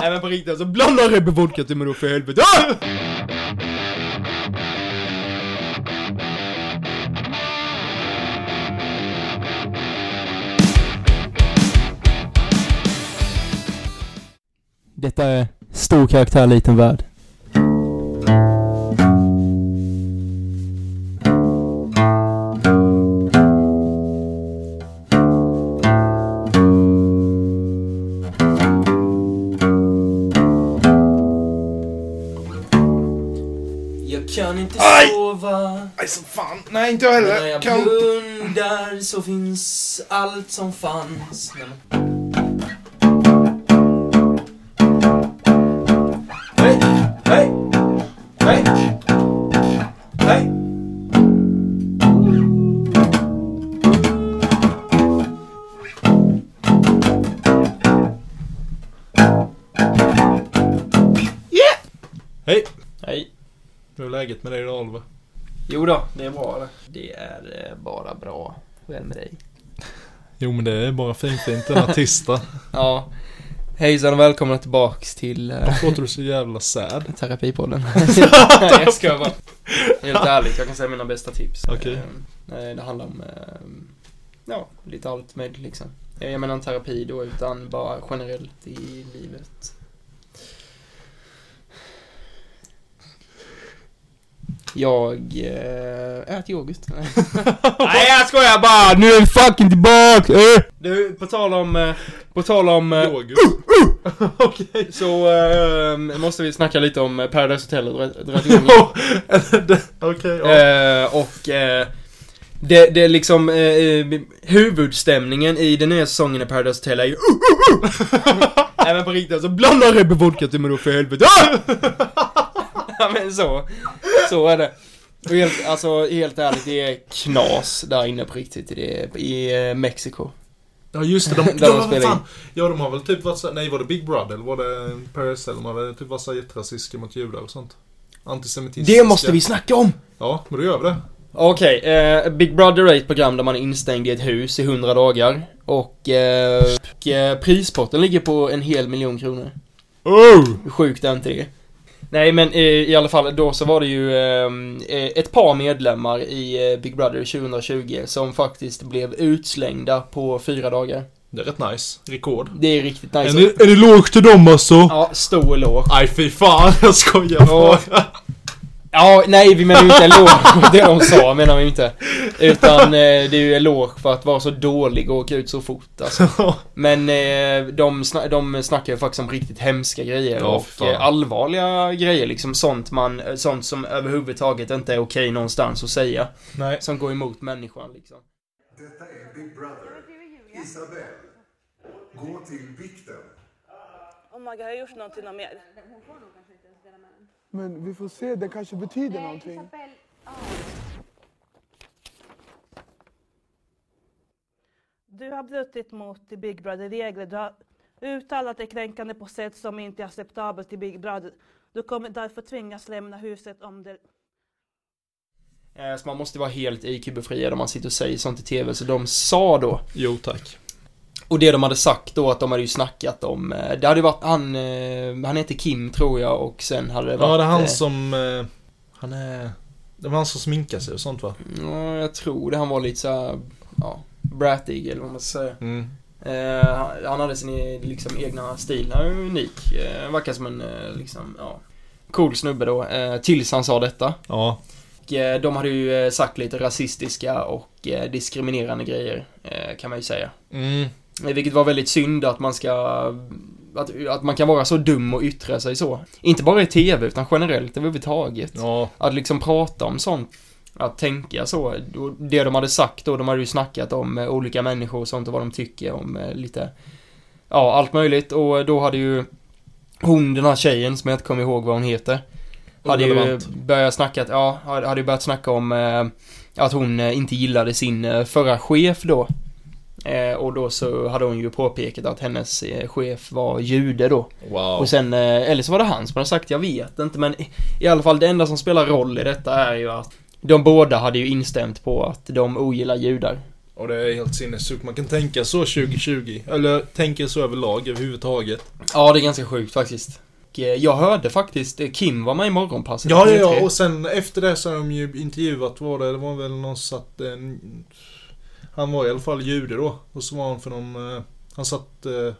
Nej men på riktigt alltså, blanda Rebbe vodka till mig då för helvete. Ah! Detta är Stor karaktär, liten värld. Jag kan inte Aj! sova. Nej som fan. Nej inte jag Men När jag heller. Kan... blundar så finns allt som fanns. Nej, men- Hej, hej, hej, hej. Hej! Hej. Hur är läget med dig idag Oliver? Jo då, det är bra det. Det är eh, bara bra. Hur är det med dig? Jo men det är bara fint, det är inte en artista. Ja. Hejsan och välkomna tillbaks till eh, Varför låter du så jävla sad? Terapipodden. Nej, jag skojar bara. Helt ärligt, jag kan säga mina bästa tips. Okej. Eh, eh, Det handlar om, eh, ja, lite allt med liksom. Eh, Jag menar inte terapi då, utan bara generellt i livet. Jag eh, äter yoghurt. Nej, jag skojar bara! Nu är vi fucking tillbaks! eh! Du, på tal om, eh, på tal om... eh, Yoghurt. Äh, Okej. så eh, måste vi snacka lite om eh, Paradise Hotel och Dra- Dragonien. Okej, ja. Eh, och eh, det, det är liksom, eh, eh, huvudstämningen i den nya säsongen i Paradise Hotel är ju Nej men på riktigt alltså, blanda Rebbe vodka till mig då för helvete. Ah! Ja men så, så är det. Och helt, alltså helt ärligt, det är knas där inne på riktigt i, det, i eh, Mexiko. Ja just det, de, Där ja, de vad spelar fan. in. ja de har väl typ varit så, nej var det Big Brother eller var det Paris eller de hade typ varit så här jätterasistiska mot judar och sånt. Antisemitistiska. Det måste vi snacka om! Ja, men då gör vi det. Okej, eh, Big Brother är ett program där man är instängd i ett hus i 100 dagar. Och, eh, och eh, prispotten ligger på en hel miljon kronor. Oh! Hur sjukt är inte det? Nej men eh, i alla fall då så var det ju ehm, eh, ett par medlemmar i eh, Big Brother 2020 som faktiskt blev utslängda på fyra dagar. Det är rätt nice. Rekord. Det är riktigt nice. En, en eloge till dem alltså! Ja, stor eloge. Nej fy fan, jag skojar Ja. Ja, nej vi menar ju inte eloge på det de sa menar vi inte. Utan eh, det är ju eloge för att vara så dålig och åka ut så fort alltså. bara. Men eh, de, sna- de snackar ju faktiskt om riktigt hemska grejer Ja, och fan. eh, allvarliga grejer liksom. Sånt, man, eh, sånt som överhuvudtaget inte är okej någonstans att säga. Nej. Som går emot människan liksom. Detta är Big Brother. Isabel, gå till vikten. Oh my god, har jag gjort någonting något mer? Men vi får se, det kanske betyder någonting. Du har brutit mot The Big Brother-regler. Du har uttalat dig kränkande på sätt som inte är acceptabelt i Big Brother. Du kommer därför tvingas lämna huset om det... Eh, så man måste vara helt IQ-befriad om man sitter och säger sånt i TV. Så de sa då. Jo tack. Och det de hade sagt då att de hade ju snackat om. Eh, det hade ju varit han, eh, han heter Kim tror jag och sen hade det varit. Ja, det är eh, han som... eh, Han är... Det var han som sminkade sig och sånt va? Ja, jag tror det. Han var lite såhär, ja, bratig eller vad man ska säga. Mm. Eh, han- han hade sin eh, liksom, egna stil, han är unik. Eh, verkar som en eh, liksom, ja, cool snubbe då, eh, tills han sa detta. Ja. Och, eh, de hade ju eh, sagt lite rasistiska och eh, diskriminerande grejer, eh, kan man ju säga. Mm. Eh, Vilket var väldigt synd att man ska, att, att man kan vara så dum och yttra sig så. Inte bara i TV, utan generellt överhuvudtaget. Ja. Att liksom prata om sånt. Att tänka så. Och Det de hade sagt då, de hade ju snackat om eh, olika människor och sånt och vad de tycker om eh, lite, ja, allt möjligt. Och då hade ju hon, den här tjejen som jag inte kommer ihåg vad hon heter, hade ju Irrelevant. börjat snacka, ja, hade hade ju börjat snacka om eh, att hon eh, inte gillade sin eh, förra chef då. Eh, och då så hade hon ju påpekat att hennes eh, chef var jude då. Wow. Och sen, eh, eller så var det han som hade sagt, jag vet inte, men i- i alla fall det enda som spelar roll i detta är ju att de båda hade ju instämt på att de ogillar judar. Och det är helt sinnessjukt. Man kan tänka så 2020. Eller tänka så överlag överhuvudtaget. Ja, det är ganska sjukt faktiskt. Och, eh, Jag hörde faktiskt, eh, Kim var med i morgonpasset. Ja, på ja, E3. ja. Och sen efter det så har de ju intervjuat, var det, det var väl någon satt en... Han var i alla fall jude då. Och så var han för någon... eh, Han satt... eh,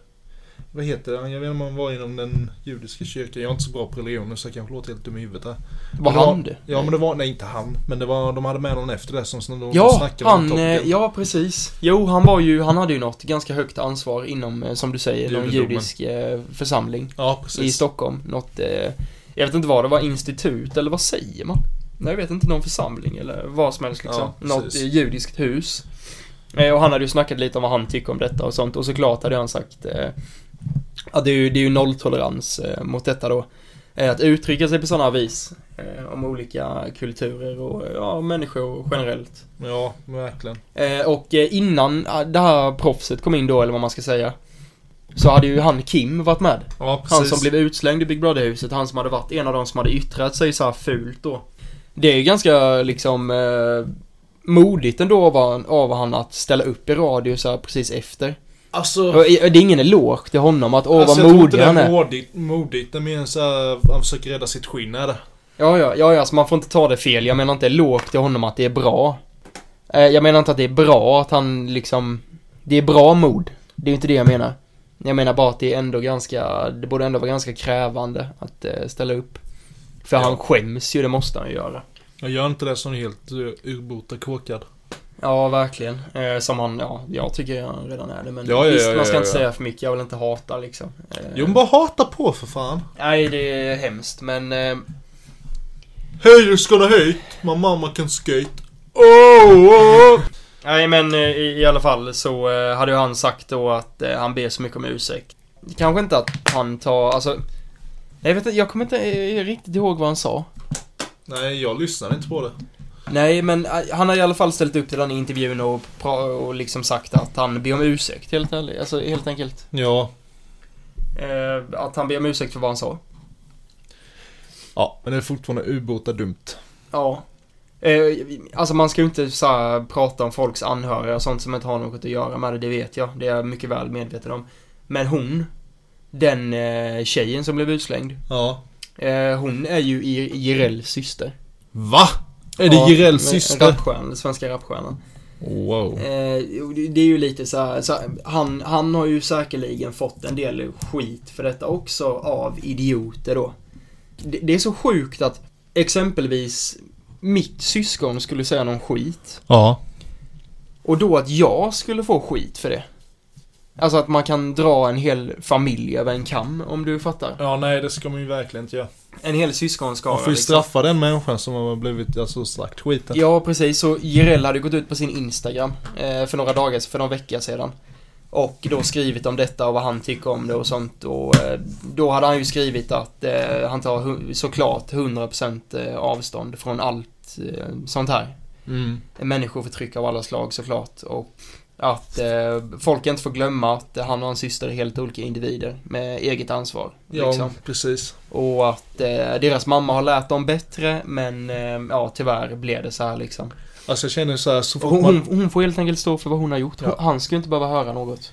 Vad heter det? Jag vet inte om han var inom den judiska kyrkan. Jag är inte så bra på religioner så jag kanske låter helt dum i huvudet här. Var det var- han det? Ja men det var, nej inte han. Men det var, de hade med någon efter det som som de Ja, snackade om han, topiken. eh, ja precis. Jo, han var ju, han hade ju något ganska högt ansvar inom, eh, som du säger, någon Judendomen. judisk eh, församling Ja, i precis. Stockholm. Något, eh, jag vet inte vad det var, institut eller vad säger man? Nej, jag vet inte, någon församling eller vad som helst liksom. Ja, något precis. eh, judiskt hus. Eh, och han hade ju snackat lite om vad han tycker om detta och sånt och såklart hade han sagt eh, att det är ju, det är ju nolltolerans eh, mot detta då. Eh, att uttrycka sig på sådana vis eh, om olika kulturer och eh, ja, människor generellt. Ja, verkligen. Eh, och eh, innan eh, det här proffset kom in då, eller vad man ska säga, så hade ju han Kim varit med. Ja, precis. Han som blev utslängd i Big Brother-huset, han som hade varit en av de som hade yttrat sig så här fult då. Det är ganska liksom eh, modigt ändå av, han- av han att ställa upp i radio så här precis efter. Alltså... Och, eh, det är ingen eloge till honom att åh alltså, jag vad tror inte modig det han är är. modigt, modigt. Det är mer så här, han försöker rädda sitt skinn är det. Ja, ja, ja, ja, alltså man får inte ta det fel. Jag menar inte lågt till honom att det är bra. Eh, jag menar inte att det är bra att han liksom... Det är bra mod. Det är ju inte det jag menar. Jag menar bara att det är ändå ganska... Det borde ändå vara ganska krävande att eh, ställa upp. För Ja. han skäms ju, det måste han ju göra. Jag gör inte det som är helt uh, urbota kåkad. Ja, verkligen. Eh, som han, ja, jag tycker han redan är det. Men Ja, ja, visst, ja, man ska ja, inte ja. säga för mycket. Jag vill inte hata liksom. Eh, Jo men bara hata på för fan. Nej, det är hemskt, men... Eh, Hej du ska du hit? My mamma can skate. Oh, oh. Nej men eh, i, i alla fall så eh, hade ju han sagt då att eh, han ber så mycket om ursäkt. Kanske inte att han tar, alltså... Jag vet inte, jag kommer inte eh, riktigt ihåg vad han sa. Nej, jag lyssnar inte på det. Nej men eh, han har i alla fall ställt upp till den här intervjun och, pra- och liksom sagt att han ber om ursäkt helt ärligt, alltså helt enkelt. Ja. Eh, att han ber om ursäkt för vad han sa. Ja, men det är fortfarande ubåta dumt. Ja. Eh, alltså man ska ju inte så här, prata om folks anhöriga och sånt som inte har något att göra med det, det vet jag. Det är jag mycket väl medveten om. Men hon, den eh, tjejen som blev utslängd. Ja. Eh, hon är ju I- Jirels syster. Va? Är det Ja, Jirels men- syster? Rapstjärnan, den svenska rapstjärnan. Wow. Eh, jo, det det är ju lite så här, så här han, han har ju säkerligen fått en del skit för detta också av idioter då. Det, det är så sjukt att exempelvis mitt syskon skulle säga någon skit Ja. och då att jag skulle få skit för det. Alltså att man kan dra en hel familj över en kam om du fattar. Ja, nej det ska man ju verkligen inte göra. En hel syskonskara. Man får ju liksom. straffa den människan som har blivit, alltså slakt skiten. Ja, precis. Så Jireel hade gått ut på sin Instagram eh, för några dagar, för någon vecka sedan. Och då skrivit om detta och vad han tycker om det och sånt. Och eh, då hade han ju skrivit att eh, han tar hu- såklart 100% eh, avstånd från allt eh, sånt här. Mm. Människoförtryck av alla slag såklart. Och att eh, folk inte får glömma att han och hans syster är helt olika individer med eget ansvar. Ja, liksom. precis. Och att eh, deras mamma har lärt dem bättre men eh, ja, tyvärr blev det så här liksom. Alltså jag känner så här så Och fort Hon, man... hon, hon får helt enkelt stå för vad hon har gjort. Hon, Ja. Han ska ju inte behöva höra något.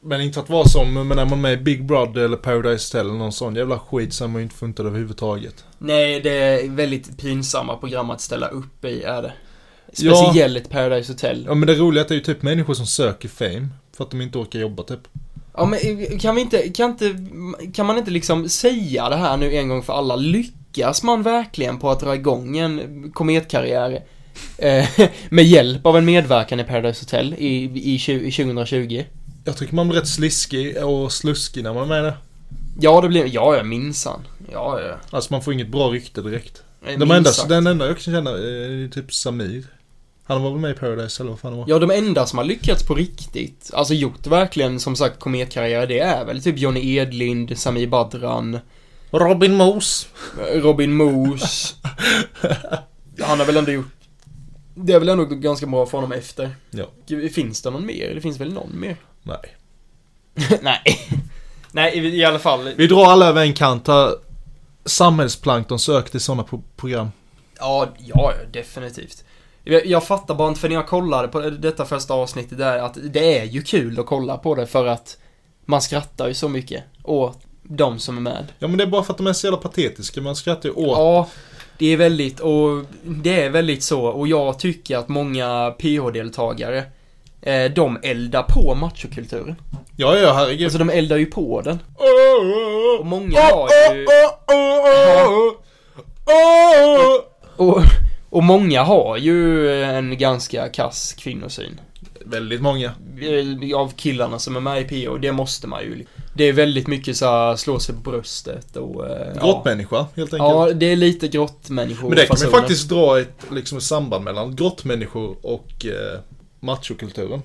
Men inte att vara som, men när man är med i Big Brother eller Paradise Hotel eller någon sån jävla skit så är man ju inte funtad överhuvudtaget. Nej, det är väldigt pinsamma program att ställa upp i, är det. Ja. Speciellt Paradise Hotel. Ja men det roliga är att det är ju typ människor som söker fame. För att de inte orkar jobba typ. Ja, men eh, kan vi inte, kan inte, kan man inte liksom säga det här nu en gång för alla? Lyckas man verkligen på att dra igång en kometkarriär eh, med hjälp av en medverkan i Paradise Hotel i, i, tju- i 2020? Jag tycker man blir rätt sliskig och sluskig när man är med där. Ja, det blir, ja, ja, minsann. Ja, ja. Alltså man får inget bra rykte direkt. Eh, De enda, minsann. den enda jag kan känna eh, är typ Samir. Han var väl med i Paradise eller vad fan det var? Ja, de enda som har lyckats på riktigt, alltså gjort verkligen som sagt kometkarriär, det är väl typ Johnny Edlind, Sami Badran, Robin Mos. Robin Moos. Han har väl ändå gjort... Det är väl ändå gått ganska bra för honom efter. Ja. Gud, Finns det någon mer? Det finns väl någon mer? Nej. Nej. Nej, i, i alla fall. Vi drar alla över en kant här. Samhällsplankton sökte sådana pro program. Ja, ja, definitivt. Jag, jag fattar bara inte, för när jag kollade på detta första avsnittet där, att det är ju kul att kolla på det för att man skrattar ju så mycket åt de som är med. Ja men det är bara för att de är så jävla patetiska. Man skrattar ju åt. Ja, det är väldigt, och det är väldigt så, och jag tycker att många PH-deltagare, eh, de eldar på machokulturen. Ja, ja, herregud. Alltså de eldar ju på den. Åh, åh, Och åh. många har ju... Åh, åh, åh, åh. Åh, åh. Och, och många har ju en ganska kass kvinnosyn. Väldigt många. Eh, Av killarna som är med i PH, det måste man ju. Det är väldigt mycket så här, slå sig på bröstet och... eh, ja. Grottmänniska, helt enkelt. Ja, det är lite grottmänniskor men det kan vi fasoner. faktiskt dra ett liksom, ett samband mellan grottmänniskor och eh, machokulturen.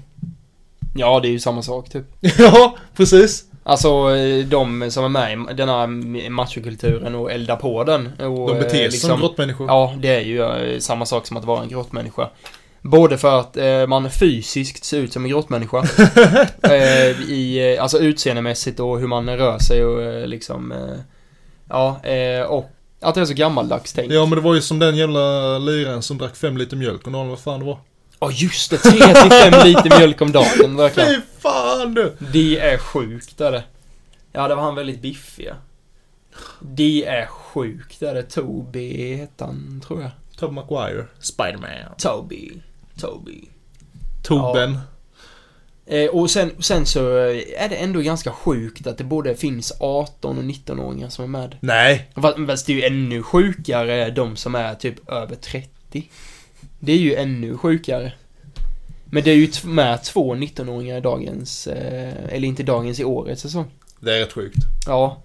Ja, det är ju samma sak typ. ja, precis. Alltså eh, de som är med i den här machokulturen och eldar på den. Och, De beter sig eh, som grottmänniskor. Ja, det är ju eh, samma sak som att vara en grottmänniska. Både för att eh, man fysiskt ser ut som en grottmänniska. eh, i, eh, alltså utseendemässigt och hur man rör sig och eh, liksom... Eh, ja, eh, och att det är så gammaldags tänk. Ja men det var ju som den jävla liraren som drack fem liter mjölk och någon vad fan det var. Ja, just det! 3 till 5 liter mjölk om dagen verkligen. Fy fan du! Det är sjukt är det. Ja, det var han väldigt biffig. Det är sjukt är det. Toby hette han, tror jag. Tobbe Maguire. Spiderman. Toby. Toby. Tobben. Eh, och sen, sen så eh, är det ändå ganska sjukt att det både finns 18 och 19-åringar som är med. Nej. Fast fast det är ju ännu sjukare de som är typ över 30. Det är ju ännu sjukare. Men det är ju t- med två 19-åringar i dagens, eh, eller inte dagens, i årets säsong. Det är rätt sjukt. Ja.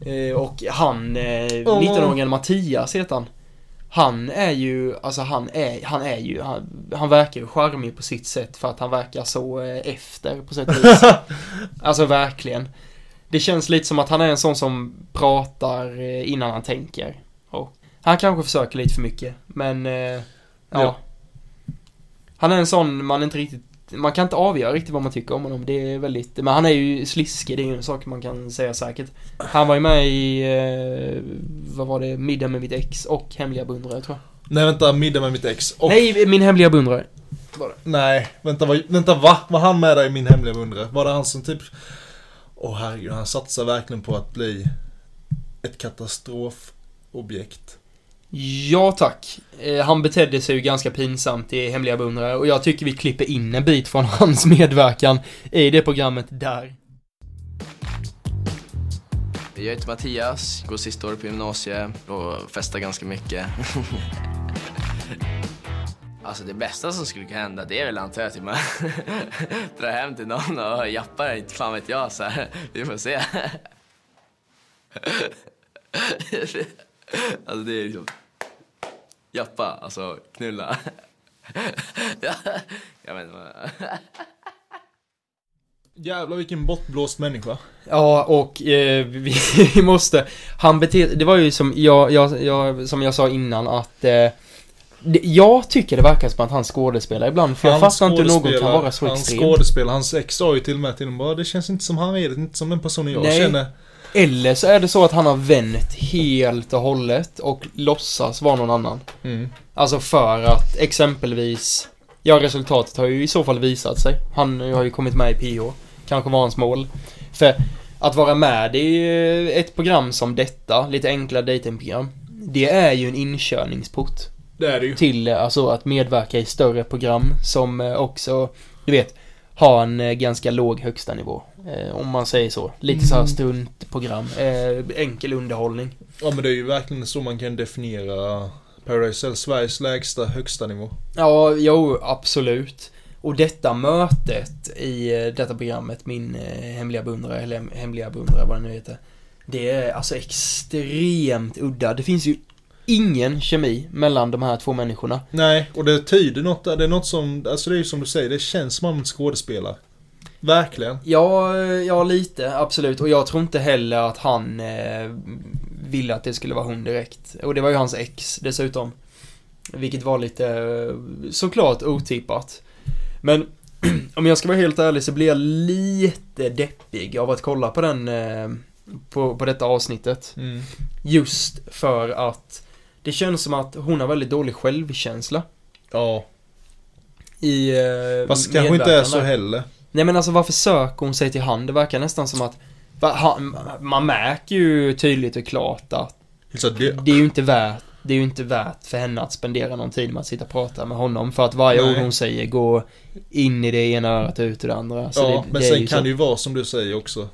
Eh, och han, eh, 19-åringen Mattias heter han. Han är ju, alltså han är, han är ju, han, han verkar ju charmig på sitt sätt för att han verkar så eh, efter på sätt och vis. alltså verkligen. Det känns lite som att han är en sån som pratar eh, innan han tänker. Och han kanske försöker lite för mycket, men eh, ja. Ja. Han är en sån man inte riktigt man kan inte avgöra riktigt vad man tycker om honom. Det är väldigt, men han är ju sliskig, det är ju en sak man kan säga säkert. Han var ju med i, eh, vad var det, Middag med mitt ex och Hemliga beundrare tror jag. Nej vänta, middag med mitt ex. Och, nej. Nej, Min hemliga beundrare. vänta, vad, vänta va? Var han med där i min hemliga beundrare? Var det han som typ... Åh herregud, han satsar verkligen på att bli ett katastrofobjekt. Ja tack. Eh, han betedde sig ju ganska pinsamt i Hemliga beundrare och jag tycker vi klipper in en bit från hans medverkan i det programmet där. Jag heter Mattias, går sista året på gymnasiet och festar ganska mycket. Alltså det bästa som skulle kunna hända det är väl antar jag att man drar hem till någon och jappar, inte fan vet jag. Så här. Vi får se. Alltså det är liksom... Jappa, alltså knulla. Jag vet inte vad... Jävlar vilken bortblåst människa. Ja, och eh, vi, vi måste... Han bete, Det var ju som jag, jag, jag, som jag sa innan att... Eh, det, jag tycker det verkar som att han skådespelar ibland, för jag fattar inte hur någon kan skådespelar- vara så Han extrem. skådespelar, hans ex sa ju till och med till honom bara det känns inte som han är, det är inte som den personen jag Nej. känner. Eller så är det så att han har vänt helt och hållet och låtsas vara någon annan. Mm. Alltså för att exempelvis... Ja, resultatet har ju i så fall visat sig. Han har ju kommit med i PH. Kanske var hans mål. För att vara med i eh, ett program som detta, lite enkla datingprogram det är ju en inkörningsport Det är det ju. till eh, alltså att medverka i större program som eh, också, du vet, har en eh, ganska låg högsta nivå. Eh, om man säger så. Lite så här struntprogram. Eh, enkel underhållning. Ja men det är ju verkligen så man kan definiera Paradise Hotel, Sveriges lägsta högsta nivå. Ja, jo, absolut. Och detta mötet i eh, detta programmet, min eh, hemliga beundrare, eller hem- hemliga beundrare, vad det nu heter. Det är alltså extremt udda. Det finns ju ingen kemi mellan de här två människorna. Nej, och det tyder något, där. det är något som, alltså det är ju som du säger, det känns som man skådespelar. Verkligen. Ja, eh, ja lite, absolut. Och jag tror inte heller att han eh, ville att det skulle vara hon direkt. Och det var ju hans ex dessutom. Vilket var lite, eh, såklart otippat. Men om jag ska vara helt ärlig så blir jag lite deppig av att kolla på den, eh, på, på detta avsnittet. Mm. Just för att det känns som att hon har väldigt dålig självkänsla. Ja. I eh, Fast det kanske inte är medverkan så där. heller. Nej men alltså varför söker hon sig till han? Det verkar nästan som att va, han, man märker ju tydligt och klart att Så det, det är ju inte värt det är ju inte värt för henne att spendera någon tid med att sitta och prata med honom för att varje Nej. ord hon säger går in i det ena örat och ut ur det andra. Så ja, Alltså, det, men det är sen ju kan så. det ju vara som du säger också.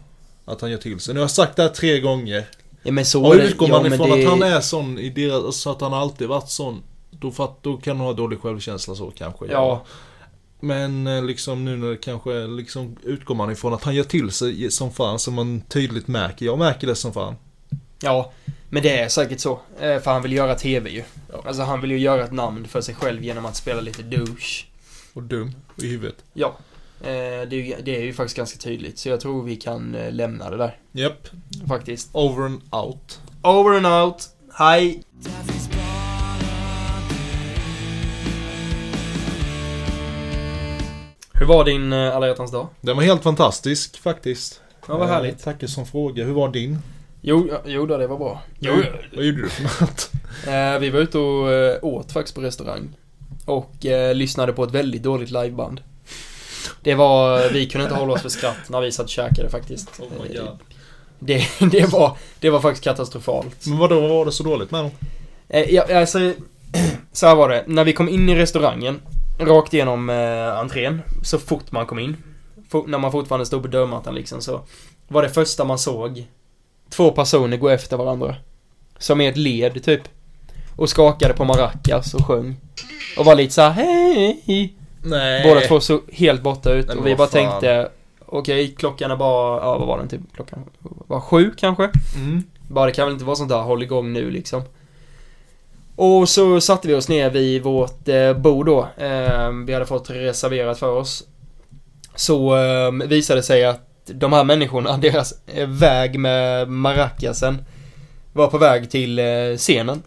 Att han gör till sig. Nu har jag sagt det här tre gånger. Ja, men så Och är det- utgår ja, man men ifrån det- att han är sån i deras, alltså att han alltid varit sån. Då, fatt, då kan han ha dålig självkänsla så kanske. Ja, Men eh, liksom nu när det kanske är, liksom utgår man ifrån att han gör till sig som fan som man tydligt märker. Jag märker det som fan. ja. Men det är säkert så. Eh, För han vill göra TV ju. Alltså han vill ju göra ett namn för sig själv genom att spela lite douche. Och dum i huvudet. Ja. Eh, Det är ju, det är ju faktiskt ganska tydligt. Så jag tror vi kan eh, lämna det där. Japp. Faktiskt. Over and out. Over and out. Hej. Hur var din eh, alla hjärtans dag? Den var helt fantastisk faktiskt. Ja, vad Eh, härligt. Tackar som fråga. Hur var din? Jo, ja, jo då, det var bra. Vad gjorde du för något? Eh, vi var ute och eh, åt faktiskt på restaurang. Och eh, lyssnade på ett väldigt dåligt liveband. Det var, eh, vi kunde inte hålla oss för skratt när vi satt och käkade faktiskt. Eh, Oh my God. Det, det, var, det var faktiskt katastrofalt. Men vadå, vad var det så dåligt med dem? Eh, ja, alltså, så här var det. När vi kom in i restaurangen, rakt igenom eh, entrén, så fort man kom in, fo- när man fortfarande stod på dörrmattan liksom, så var det första man såg två personer gå efter varandra. Som i ett led, typ. Och skakade på maracas och sjöng. Och var lite så här, hej! Nej. Båda två såg helt borta ut Eh. Nej, men och vi vad bara fan. tänkte, okej, klockan är bara, ja vad var den typ? Klockan var sju kanske? Mm. Bara det kan väl inte vara sånt där håll igång nu liksom. Och så satte vi oss ner vid vårt eh, bord då. Eh, vi hade fått reserverat för oss. Så eh, visade det sig att de här människorna, deras eh, väg med maracasen var på väg till eh, scenen.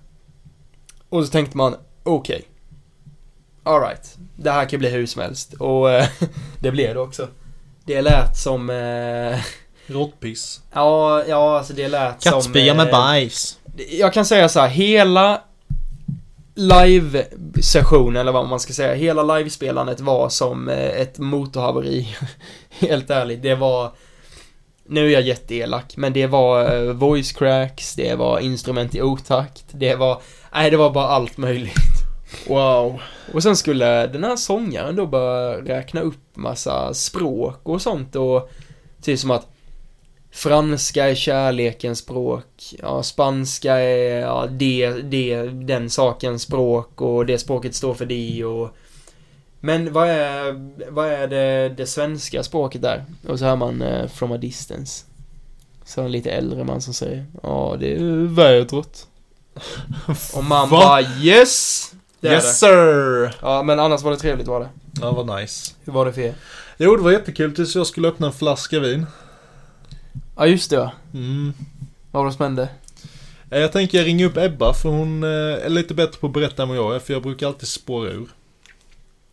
Och så tänkte man, okej. Alright, det här kan bli hur som helst. Och eh, det blev det också. Det lät som... Eh, Råttpiss. ja, ja, alltså det lät som... eh, bajs. jag kan säga så här, hela live-sessionen, eller vad man ska säga, hela livespelandet var som eh, ett motorhaveri. Helt ärligt, det var... Nu är jag jätteelak, men det var eh, voice cracks, det var instrument i otakt, det var... Nej, det var bara allt möjligt. Wow. Och sen skulle den här sångaren då börja räkna upp massa språk och sånt och typ som att franska är kärlekens språk, ja, spanska är ja, det, det, den sakens språk och det språket står för det och men vad är, vad är det, det svenska språket där? Och så hör man eh, from a distance. Så en lite äldre man som säger, ja det är vädret. Och man Va? bara yes! Det är det. yes sir! Ja, men annars var det trevligt var det. Ja, vad nice. Hur var det för er? Jo, det var jättekul tills jag skulle öppna en flaska vin. Ja, just det ja. Mm. Vad var det som hände? Eh, Jag tänker jag ringer upp Ebba för hon eh, är lite bättre på att berätta än vad jag är för jag brukar alltid spåra ur.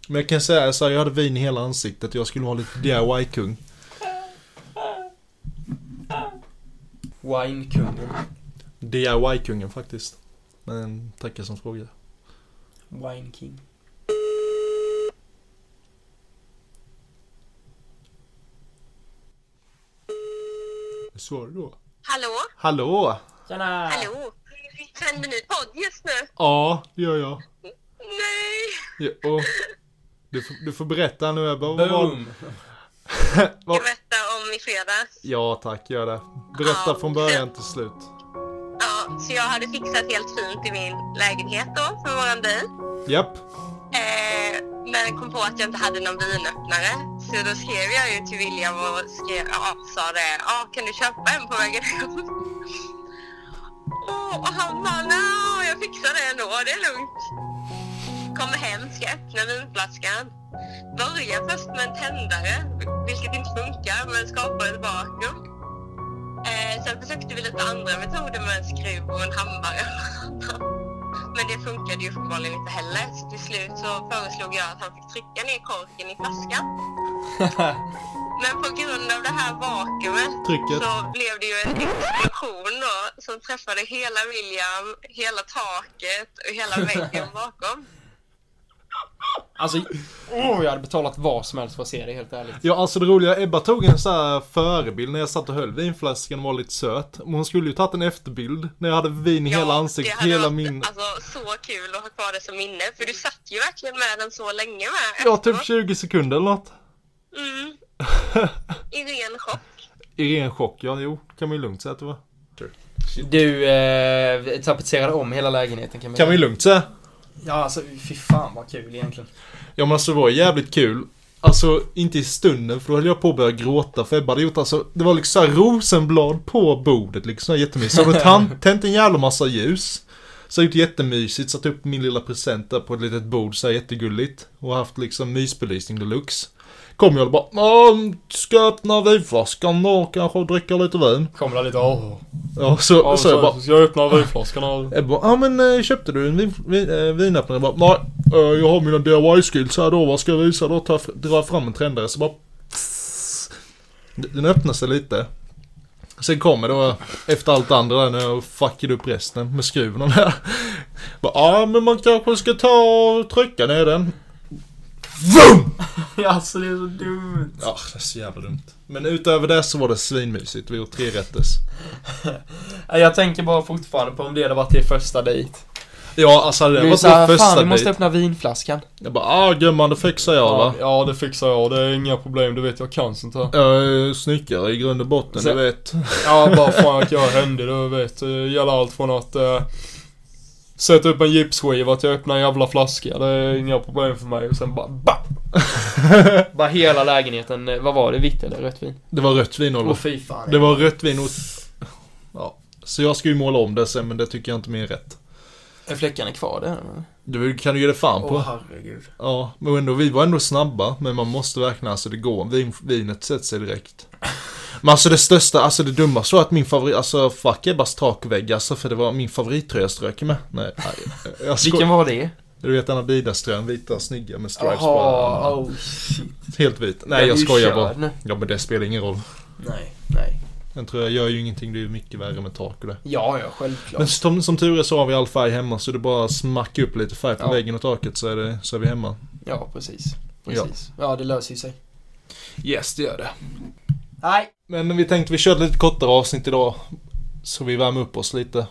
Men jag kan säga så här, jag hade vin i hela ansiktet jag skulle vara lite DIY-kung. Winekungen. DIY-kungen faktiskt. Men tackar som frågar. Wine King. Svarar du då? Hallå? Hallå! Tjena! Hallå? Sänder ni podd just nu? Ja, det gör jag. Nej! Ja, och du, får, du får berätta nu Ebba. vad var- Boom! Jag vad- berättade om i fredags. Ja tack, gör det. Berätta från början till slut. Ja, så jag hade fixat helt fint i min lägenhet då för våran dejt. Japp. Eh, men kom på att jag inte hade någon vinöppnare. Så då skrev jag ju till William och skrev, ja, sa det. Ja, kan du köpa en på vägen hem? Åh, och han bara, no, jag fixar det ändå, det är lugnt. Kommer hem, ska öppna vinflaskan. Börjar först med en tändare, vilket inte funkar, men skapar ett vakuum. Eh, sen försökte vi lite andra metoder med en skruv och en hammare. Men det funkade ju uppenbarligen inte heller. Så till slut så föreslog jag att han fick trycka ner korken i flaskan. Men på grund av det här vakuumet Trycket. så blev det ju en explosion då som träffade hela William, hela taket och hela väggen bakom. Alltså, åh, jag hade betalat vad som helst för att se det, helt ärligt. Ja, alltså det roliga, Ebba tog en så här förebild när jag satt och höll vinflaskan och var lite söt. Men hon skulle ju tagit en efterbild när jag hade vin i hela ansiktet, hade hela varit, min... Alltså så kul att ha kvar det som minne. För du satt ju verkligen med den så länge med. Ja, typ efteråt. 20 sekunder eller något. Mm. I ren chock. I ren chock, ja jo, kan man ju lugnt säga att det var. Du eh, tapetserade om hela lägenheten kan man Kan man ju lugnt säga. Ja, alltså fy fan vad kul egentligen. Ja men alltså det var jävligt kul. Alltså inte i stunden för då höll jag på att börja gråta för Ebba hade gjort alltså, det var liksom så här rosenblad på bordet liksom, jättemysigt. Så hade hon tan- tänt en jävla massa ljus. Så gjort jättemysigt, satt upp min lilla present där på ett litet bord så här jättegulligt. Och haft liksom mysbelysning deluxe. Kom jag och bara, "Ja, ska jag öppna vinflaskan och kanske dricka lite vin? Kommer där lite åh. Ja, så, så, jag bara, ska jag öppna vinflaskan och... Ebba, ja ah, men eh, köpte du en vin, vin, eh, vinöppnare? Jag bara, nej, eh, jag har mina DIY-skills här då, vad ska jag visa då? Ta, fr- dra fram en trendare, så bara... Pss, den öppnar sig lite. Sen kommer då, efter allt andra där, när jag fuckade upp resten med skruven och det här. Bara, Ja, ah, men man kanske ska ta och trycka ner den. VUM! alltså det är så dumt. Ja, det är så jävla dumt. Men utöver det så var det svinmysigt, vi gjorde tre rätters. Nej, Jag tänker bara fortfarande på om det hade varit din första dejt. Ja, alltså hade Det det var varit såhär, vår fan första vi måste dejt. öppna vinflaskan. Jag bara, ah gumman, det fixar jag va. ja, det fixar jag. Det är inga problem. Du vet, jag kan sånt här. Jag är snickare i grund och botten, Så- du vet. Ja, bara fan att jag hände du vet. Det gäller allt från att eh, sätta upp en gipsskiva till att öppna en jävla flaska. Det är inga problem för mig. Och sen bara BAP! bara hela lägenheten, eh, vad var det? Vitt eller rött vin? Det var rött vin, Oliver. fy fan. Det var rött vin och... Ja. Så jag ska ju måla om det sen, men det tycker jag inte mer är rätt. Är fläckarna kvar där? Du kan du ge det fan på. herregud. Ja, men ändå, vi var ändå snabba, men man måste verkligen, alltså det går. Vin, vinet sätter sig direkt. Men alltså det största, alltså det dummaste var att min favorit, alltså fuck Ebbas takvägg alltså, för det var min favorittröja jag strök med. Nej, nej, jag sko- Vilken var det? Du vet den Adidas-tröjan, vita, snygga med stripes på Jaha, armarna. oh shit. Helt vit. Den Nej, är jag ju skojar körd bara. nu. Ja, men det spelar ingen roll. Nej, nej. Den tror jag gör ju ingenting, det är ju mycket värre med tak och det. Ja, ja, självklart. Men som, som tur är så har vi all färg hemma så det är bara att smacka upp lite färg på Ja. väggen och taket så är, det, så är vi hemma. Ja, precis. Precis. Ja, det löser ju sig. Yes, det gör det. Nej. Men vi tänkte vi körde lite kortare avsnitt idag. Så vi värmer upp oss lite.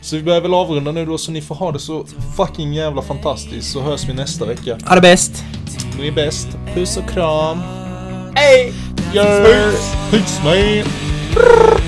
Så vi börjar väl avrunda nu då så ni får ha det så fucking jävla fantastiskt så hörs vi nästa vecka. Ha det bäst! Ni är bäst. Puss och kram. Hej! Peace man! Brrr.